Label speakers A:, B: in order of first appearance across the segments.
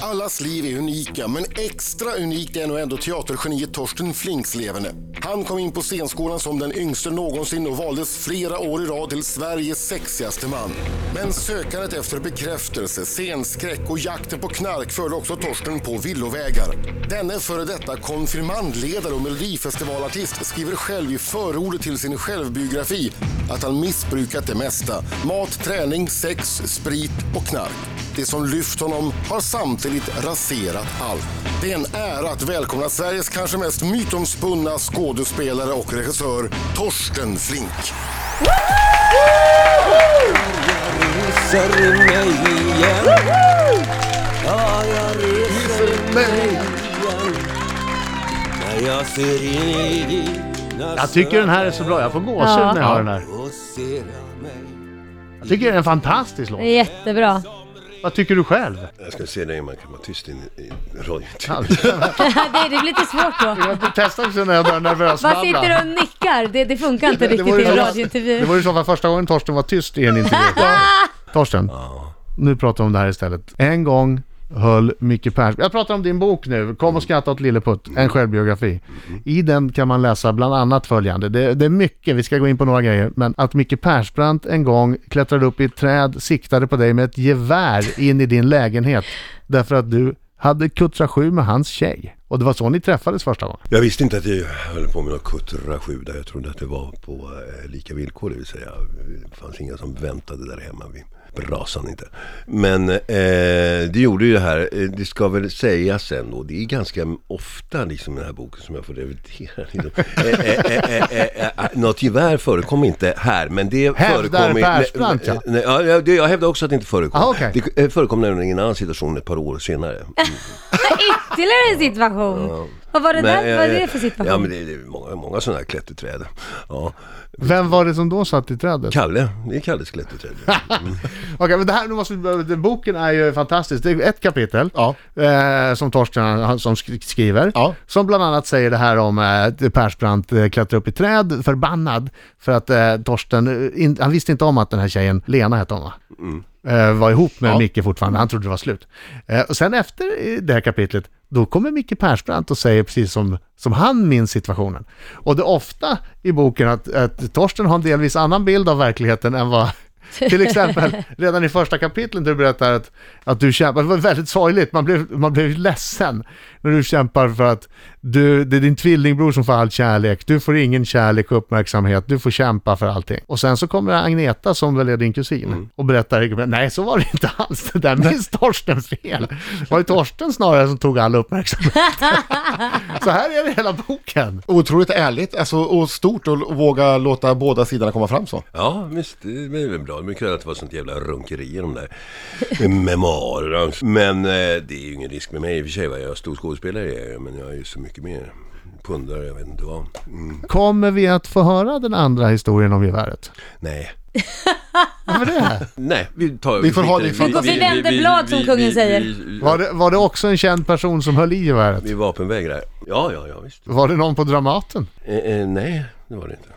A: Allas liv är unika, men extra unikt är nog ändå teatergeniet Torsten Flinks leverne. Han kom in på scenskolan som den yngste någonsin och valdes flera år i rad till Sveriges sexigaste man. Men sökandet efter bekräftelse, scenskräck och jakten på knark förde också Torsten på villovägar. Denne före detta konfirmandledare och melodifestivalartist skriver själv i förordet till sin självbiografi att han missbrukat det mesta. Mat, träning, sex, sprit och knark. Det som lyft honom har samtidigt raserat allt. Det är en ära att välkomna Sveriges kanske mest mytomspunna skådespelare och regissör Torsten Flink.
B: reser mig igen. Ja, jag reser mig igen. När jag ser in i dina
C: Jag tycker den här är så bra, jag får gåshud
D: Ja.
C: när jag hör den här.
B: ögon och ser mig.
C: Jag tycker det är en fantastisk
D: Det
C: låt.
D: är jättebra.
C: Vad tycker du själv?
E: Jag ska se när man kan vara tyst i i- i radio.
D: det, det blir lite svårt då.
C: Jag testar också när jag börjar nervös
D: Vad sitter du och nickar? Det, det funkar inte riktigt i en
C: Det
D: radiointervju.
C: var ju så att första gången Torsten var tyst i en intervju. Torsten, nu pratar vi om det här istället. En gång höll Micke Persson... Jag pratar om din bok nu, Kom och skratta åt Lilleputt, en självbiografi. I den kan man läsa bland annat följande. Det, det är mycket, vi ska gå in på några grejer, men att Micke Persbrandt en gång klättrade upp i ett träd, siktade på dig med ett gevär in i din lägenhet därför att du hade kuttrasju med hans tjej. Och det var så ni träffades första gången.
E: Jag visste inte att jag höll på med något kuttrasju där. Jag trodde att det var på eh, lika villkor, det vill säga det fanns inga som väntade där hemma vid brasan inte. Men eh, det gjorde ju det här, Eh, det ska väl sägas ändå, det är ganska ofta liksom i den här boken som jag får revidera. Liksom. Eh, eh, eh, eh, eh, eh, något gevär förekom inte här, men det
C: Hävdar
E: förekom... i-
C: Persbrandt, ja.
E: nej, nej, ja. jag- det- Jag hävdar också att det inte förekom.
C: Aha, okej.
E: Det eh, förekom nämligen i en annan situation ett par år senare.
D: Ytterligare en situation. Vad var det där? Vad är det för
E: Ja,
D: situation?
E: men det är många, många sådana här klätterträd. Ja.
C: Vem var det som då satt i trädet?
E: Kalle, det är Kalles klätterträd.
C: Okej, men det här, nu måste vi, börja- den boken är ju fantastisk. Det är ett kapitel eh, som Torsten han, som sk- skriver.
F: Ja.
C: Som bland annat säger det här om eh, Persbrandt eh, klättrar upp i träd, förbannad. För att eh, Torsten, eh, in, han visste inte om att den här tjejen, Lena hette hon va? Eh, var ihop med
F: Mm. Ja.
C: Micke fortfarande, han trodde det var slut. Eh, och sen efter eh, det här kapitlet, då kommer Micke Persbrandt och säger precis som, som han minns situationen. Och det är ofta i boken att, att Torsten har en delvis annan bild av verkligheten än vad till exempel, redan i första kapitlet du berättar att, att du kämpar, det var väldigt sorgligt, man blev, man blev ledsen när du kämpar för att du, det är din tvillingbror som får all kärlek, du får ingen kärlek och uppmärksamhet, du får kämpa för allting. Och sen så kommer Agneta som väl är din kusin och berättar, nej så var det inte alls, det där minns Torsten fel. Det var ju Torsten snarare som tog all uppmärksamhet. så här är det hela boken.
F: Otroligt ärligt alltså, och stort att våga låta båda sidorna komma fram så.
E: Ja, visst, det är väl bra. Men kul att det var sånt jävla runkeri i de där memoarerna. Men eh, det är ju ingen risk med mig i och för sig. Va? Jag är stor skådespelare, är jag ju, men jag är ju så mycket mer. Pundare, jag vet inte vad. Mm.
C: Kommer vi att få höra den andra historien om geväret?
E: Nej.
C: Varför det?
E: Nej, vi tar...
F: Vi får ha det i
E: skiter-
F: fantasi.
D: Vi vänder blad, som kungen
E: vi-
D: säger.
E: vi- vi-
C: Var det? Var det också en känd person som höll i geväret?
E: Vi vapenvägrar. Ja, ja, ja, visst.
C: Var det någon på Dramaten?
E: Eh, eh, nej, det var det inte.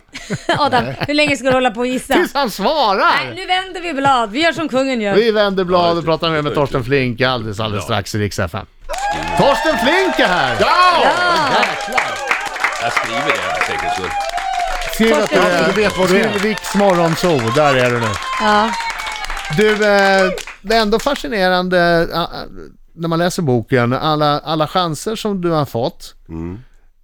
D: Adam, hur länge ska du hålla på och gissa?
C: Tills han
D: Nej,
C: svarar!
D: nu vänder vi blad. Vi gör som kungen gör.
C: Vi vänder blad och pratar
E: Ja,
C: med,
E: det-
C: med Torsten Flink alldeles, alldeles strax i Rix FM. Torsten Flink är här!
E: Jag skriver det här säkert så.
C: Skriv att du är...
F: Du vet vad du är.
C: Skriv Riks morgonzoo, där är du nu.
D: Ja.
C: Du, eh, det är ändå fascinerande eh, när man läser boken, alla, alla chanser som du har fått.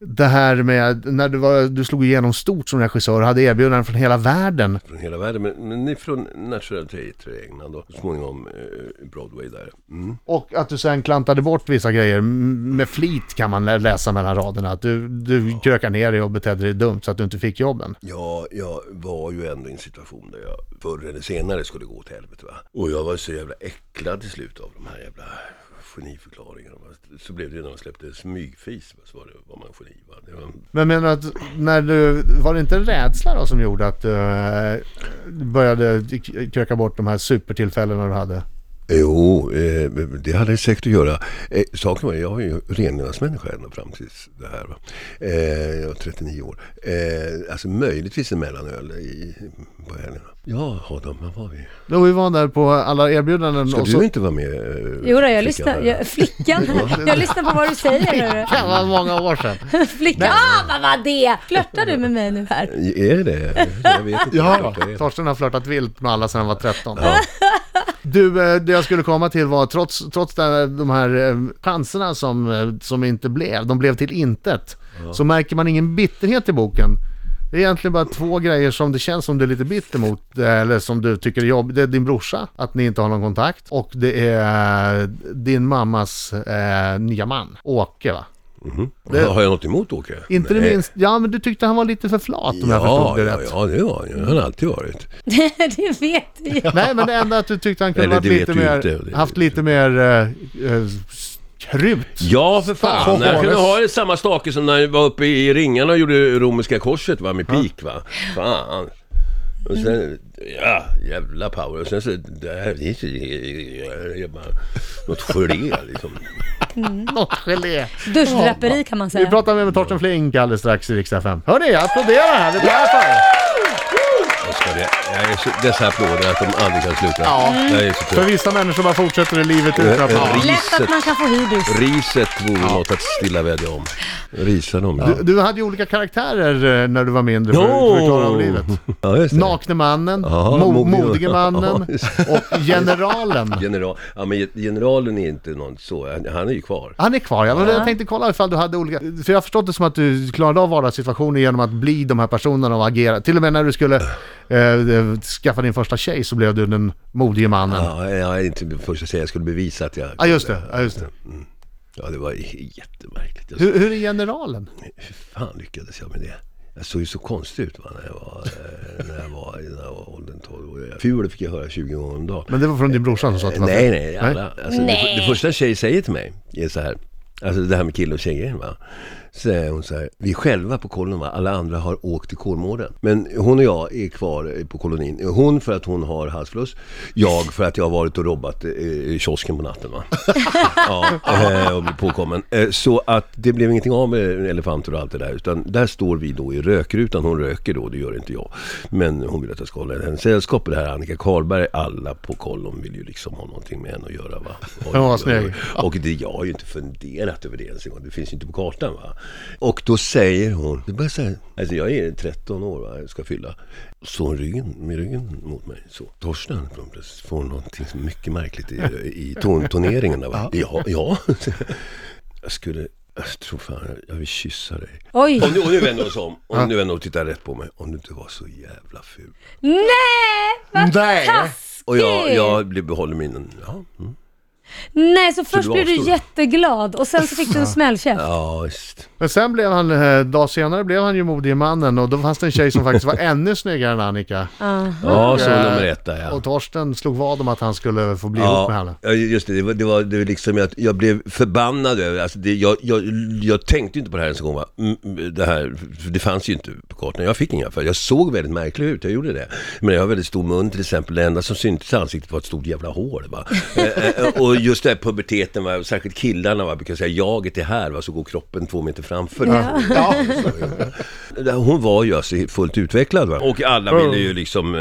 C: Det här med när du, var, du slog igenom stort som regissör och hade erbjudanden från hela världen.
E: från hela världen. Men, men från National Theatre i England och så småningom eh, Broadway där. Mm.
C: Och att du sen klantade bort vissa grejer M- med flit kan man lä- läsa mellan raderna. Att du, du krökade ner dig och betedde dig dumt så att du inte fick jobben.
E: Ja, jag var ju ändå i en situation där jag förr eller senare skulle gå åt helvete. Va? Och jag var så jävla äcklad till slut av de här jävla geniförklaringarna. Va? Så blev det ju när man släppte smygfis. Va? Så var, det, var man geni. Va? Det var,
C: Men menar du att när du, var det inte en rädsla då som gjorde att du eh, började k- kröka bort de här supertillfällena du hade?
E: Jo, eh, det hade det säkert att göra. Eh, saken var, jag var ju renlevnadsmänniska ända fram till det här. Va? Eh, jag var 39 år. Eh, alltså möjligtvis en mellanöl i, på helgerna. Ja, Adam, var var vi?
C: Då vi var där på alla erbjudanden
E: Ska
C: och
E: du
C: så...
E: inte vara med? eh,
D: Jo, då,
E: flickan
D: jag lyssnar.
E: här?
D: Jag, flickan. Jag lyssnar på vad du säger. hörru.
C: Det var många år sedan.
D: Flickan. Ah, vad var det? Flörtar du med mig nu här?
E: Är det? Jag vet inte.
F: Ja.
E: Det är.
C: Torsten har flörtat vilt med alla sedan han var 13. Du, eh, det jag skulle komma till var trots, trots där- de här eh, chanserna som, eh, som inte blev, de blev till intet, så märker man ingen bitterhet i boken. Det är egentligen bara två grejer som det känns som du är lite bitter mot, eh, eller som du tycker är jobbigt. Det är din brorsa, att ni inte har någon kontakt, och det är eh, din mammas eh, nya man, Åke va?
E: Det... Har jag något emot Åke?
C: Inte det
E: Nej.
C: minst, ja men du tyckte han var lite för flat om jag förstod det
E: ja,
C: rätt.
E: ja, det var han ju. Det har han alltid varit.
D: det vet du ju.
C: Nej, men det enda att du tyckte han kunde
E: Eller
C: varit
E: det vet
C: lite
E: du
C: mer,
E: inte. Det-
C: haft lite mer eh, eh, krut.
E: Ja, för fan.
C: Stakhålles.
E: Jag kunde ha det samma stake som när jag var uppe i ringarna och gjorde romerska korset va, med pik va. Fan. Och sen, ja, jävla power. Och sen så, det här, det är så- det är bara något gelé liksom.
C: Något gelé.
D: Duschdraperi kan man
C: Vi
D: säga.
C: pratar med Torsten Flink alldeles strax i Riksdag 5. Hörni, jag applåderar här. Det är fan.
E: Jag ska det, jag är så, dessa applåder att de aldrig kan sluta.
C: Ja.
E: Jag är så
C: För
E: trött.
C: vissa människor bara fortsätter i livet ut.
E: Ja, ja.
D: Lätt att man kan få hybris.
E: Riset vore något att stilla vädja om. Risa dem.
C: Du, du hade ju olika karaktärer eh, när du var mindre för,
E: Ja.
C: för att klara av livet.
E: Ja, just det.
C: Nakne mannen,
E: Ja,
C: mo-
E: modig-
C: modige mannen
E: Ja, just
C: och generalen.
E: General, ja, men generalen är inte någon så, han, han är ju kvar.
C: Han är kvar, jag, var- jag tänkte kolla ifall du hade olika... För jag har förstått det som att du klarade av vardagssituationer genom att bli de här personerna och agera. Till och med när du skulle eh, skaffa din första tjej så blev du den modige mannen. Ja,
E: Ja, jag är inte den första att säga, jag skulle bevisa att jag...
C: just det. Ja, just det.
E: Ja, det var j- jättemärkligt. Jag, hur?
C: Hur, hur är generalen?
E: hur fan lyckades jag med det? Jag såg ju så konstig ut va, när jag var, eh, när jag var i den här åldern 12 år. Ful fick jag höra 20 gånger om dagen. Eh,
C: Men det var från din brorsa som sa att det var
E: Nej,
C: fel.
E: nej, alla. Alltså, nej. Det, det första en tjej säger till mig är så här. Alltså det här med kille och tjejer va. Så säger hon så här. Vi är själva på kolonin va. Alla andra har åkt till Kolmården. Men hon och jag är kvar eh, på kolonin. Hon för att hon har halsfluss. Jag för att jag har varit och robbat eh, i kiosken på natten va. ja, eh, och blivit påkommen. Eh, Så att det blev ingenting av med elefanter och allt det där. Utan där står vi då i rökrutan. Hon röker då, det gör inte jag. Men hon vill att jag ska hålla henne sällskap. Och Det här är Annika Karlberg, alla på kollon vill ju liksom ha någonting med henne att göra va. Och,
C: Ja, vad snygg.
E: och det, jag har ju inte funderat över det ens en gång. Det finns ju inte på kartan va. Och då säger hon, det börjar säga, alltså jag är 13 år va, jag ska fylla. Så hon ryggen, med ryggen mot mig så. Torsten plötsligt får någonting som är mycket märkligt i, i ton, toneringarna va. Ja, ja. Jag skulle, jag tror fan jag vill kyssa dig.
D: Oj!
E: Om du, om du vänder oss om, om du vänder och tittar rätt på mig. Om du inte var så jävla ful.
D: Nej! Vad
F: Nej.
D: taskigt!
E: Och jag, jag blir- behåller min, ja. Mm.
D: Nej, så först
E: du
D: blev du
E: avstod?
D: jätteglad och sen så fick du en smällkäft.
E: Ja, just.
C: Men sen blev han, eh, dag senare blev han ju modige mannen och då fanns det en tjej som faktiskt var ännu snyggare än Annika.
E: Ja, så nummer ett där ja.
C: Och Torsten slog vad om att han skulle få bli ihop med henne.
E: Ja, ja, just det. Det var, det var, det var liksom jag, jag blev förbannad över alltså det. Jag, jag, jag tänkte ju inte på det här ens en gång. Va? Mm, mm, Det, här, för det fanns ju inte på kartan. Jag fick inga för Jag såg väldigt märklig ut, jag gjorde det. Men jag har väldigt stor mun till exempel. Det enda som syntes i ansiktet var ett stort jävla hår. Va? Eh, eh, och just det här puberteten, va? särskilt killarna va? brukar säga jaget är här, va? så går kroppen två meter framför.
D: Ja.
E: Ja. Hon var ju alltså fullt utvecklad va? Och alla ville ju liksom... Eh,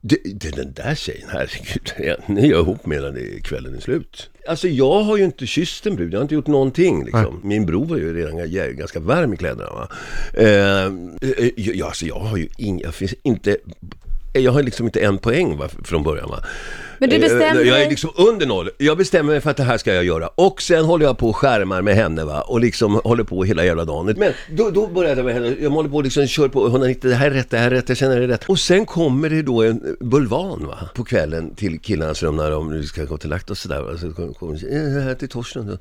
E: det, det, är den där tjejen, herregud. ja, Ni är jag ihop med den i kvällen är slut. Alltså jag har ju inte kysst en brud, jag har inte gjort någonting liksom. Min bror var ju redan g- ganska varm i kläderna va. Eh, eh, ja, alltså jag har ju inga, jag finns inte... Jag har liksom inte en poäng va, från början va.
D: Men du bestämde
E: Eh, Jag är
D: dig.
E: liksom under noll. Jag bestämmer mig för att det här ska jag göra. Och sen håller jag på och skärmar med henne va. Och liksom håller på hela jävla dagen. Men då, då började jag med henne. Jag håller på och liksom kör på 190. Det här är rätt, det här är rätt, jag känner det är rätt. Och sen kommer det då en bulvan va. På kvällen till killarnas rum när de nu ska gå till lagt och sådär. va. Så kommer kom, eh, här till Torsten.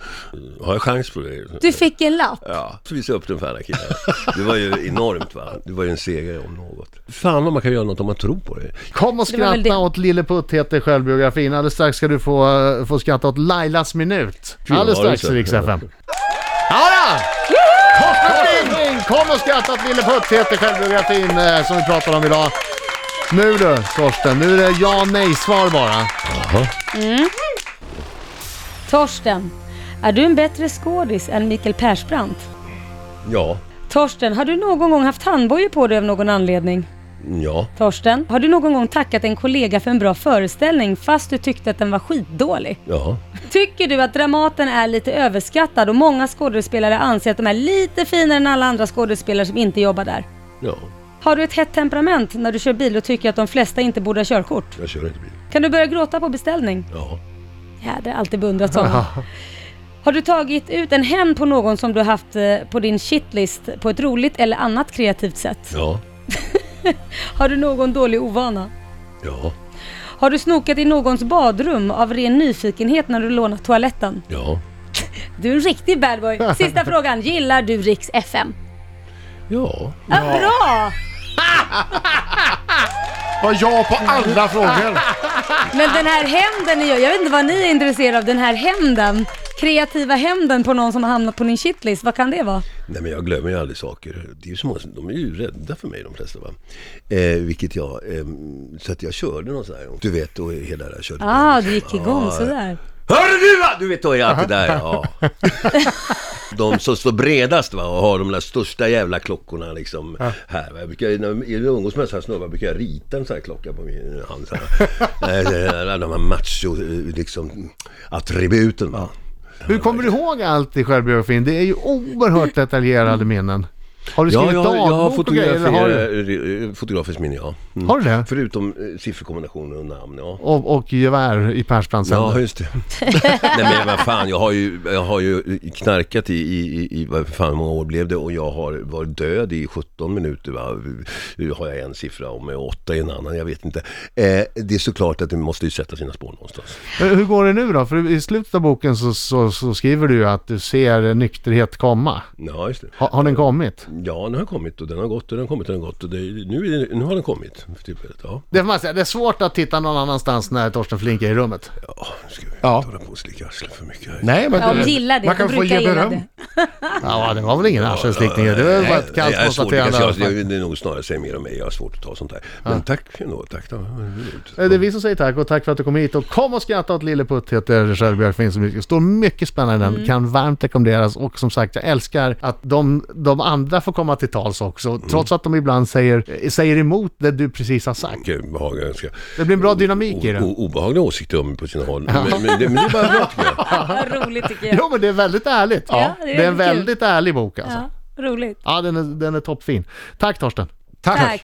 E: Har jag chans på det?
D: Du fick en lapp.
E: Ja, så visade jag upp den för alla killar. Det var ju enormt va. Det var ju en seger om något. Fan vad man kan göra något om man tror på det.
C: Kom och
D: Det var väl
C: skratta
D: det.
C: åt Lille Putt heter självbiografin. Alldeles strax ska du få, eh, få skratta åt Lailas minut.
E: Kul,
C: Alldeles
E: har du
C: strax i
E: sett?
C: Rix FM. Jadå! Torsten Flink, Kom och skratta åt Lille Putt heter självbiografin eh, som vi pratar om idag. Nu du Torsten, nu är det ja nej-svar bara.
D: Torsten, är du en bättre skådis än Mikael Persbrandt?
E: Ja.
D: Torsten, har du någon gång haft handbojor på dig av någon anledning?
E: Ja.
D: Torsten, har du någon gång tackat en kollega för en bra föreställning fast du tyckte att den var skitdålig?
E: Ja.
D: Tycker du att Dramaten är lite överskattad och många skådespelare anser att de är lite finare än alla andra skådespelare som inte jobbar där?
E: Ja.
D: Har du ett hett temperament när du kör bil och tycker att de flesta inte borde ha körkort?
E: Jag kör inte bil.
D: Kan du börja gråta på beställning?
E: Ja.
D: Jädrar, alltid beundrat sådana. Har du tagit ut en hämnd på någon som du haft eh, på din shitlist på ett roligt eller annat kreativt sätt?
E: Ja.
D: Har du någon dålig ovana?
E: Ja.
D: Har du snokat i någons badrum av ren nyfikenhet när du lånat toaletten?
E: Ja.
D: Du är en riktig badboy. Sista frågan, gillar du Riks FM?
E: Ja.
D: Ja. bra!
F: Var ja på alla frågor.
D: Men den här hämnden ni gör, jag vet inte vad ni är intresserade av, den här hämnden. Kreativa hämnden på någon som har hamnat på din shitlist, vad kan det vara?
E: Nej men jag glömmer ju aldrig saker. Det är ju så många, som- de är ju rädda för mig de flesta va. Eh, vilket jag, ehm, så att jag körde någon sån här gång. Du vet, och hela det där körde.
D: Ah, du gick igång
E: Ja,
D: sådär.
E: Hörru du va! Du vet, då är jag alltid där. Ja. De som står bredast va, och har de där största jävla klockorna liksom här. Va? Jag brukar, när jag umgås med sådana här snubbar brukar jag rita en sån här klocka på min hand. Så här. Eh, de här macho, eh, liksom, attributen va.
C: Hur kommer du ihåg allt i självbiografin? Det är ju oerhört detaljerade minnen. Har du skrivit
E: jag, jag har
C: dagbok och grejer? Eller har, du,
E: fotografer- eh, fotografiskt minne ja. Mm.
C: har du det?
E: Förutom eh, sifferkombinationer och namn ja.
C: Och, och gevär i Persbrandts
E: Ja,
C: händer.
E: just det. Nej men vad fan, jag har ju, jag har ju knarkat i, i, i, i vad fan hur många år blev det och jag har varit död i 17 minuter va. Nu har jag en siffra om och åtta i en annan, jag vet inte. Eh, det är såklart att det måste ju sätta sina spår någonstans.
C: Men Eh, Hur går det nu då? För i slutet av boken så, så, så skriver du ju att du ser nykterhet komma.
E: Ja, just det.
C: Har, har den kommit?
E: Ja, den har kommit och den har gått och den har kommit och den har gått och det, nu, är, det- nu har den kommit. för Tillfället, ja.
C: Det får man säga, det är svårt att titta någon annanstans när Torsten Flink är i rummet.
E: Ja, nu ska vi
F: Ja.
E: inte hålla på och slicka arslet för mycket. här.
F: Nej, men
D: Ja, de gillar det.
F: man kan
D: de
F: få
D: brukar
F: ge
D: gilla
F: beröm.
D: det.
C: Ja, det var väl ingen arselslickning. Det var bara ett kallt
E: Nej, jag har svårt, det kanske jag-
C: konstaterande.
E: Det är nog snarare säger mer om mig, jag har svårt att ta sånt här. Men tack ändå, tack. Då.
C: Eh, Det är vi som säger tack och tack för att du kom hit och kom och skratta åt Lille Putt heter självbiografin som står mycket spännande i
D: Mm.
C: den, kan varmt rekommenderas och som sagt jag älskar att de, de andra får komma till tals också
F: Mm.
C: trots att de ibland säger, säger emot det du precis har sagt.
E: Mycket behagliga ganska
C: Det blir en bra dynamik i
E: o-
C: det.
E: o- obehagliga åsikter om på sina håll. Men, men, det, men det är bara bra tycker jag.
D: Vad roligt tycker jag.
C: Jo men det är väldigt ärligt.
D: Ja, det är
C: det är en
D: väldigt kul.
C: väldigt ärlig bok alltså.
D: Ja, roligt.
C: Ja, den är, den är toppfin. Tack Torsten.
D: Tack.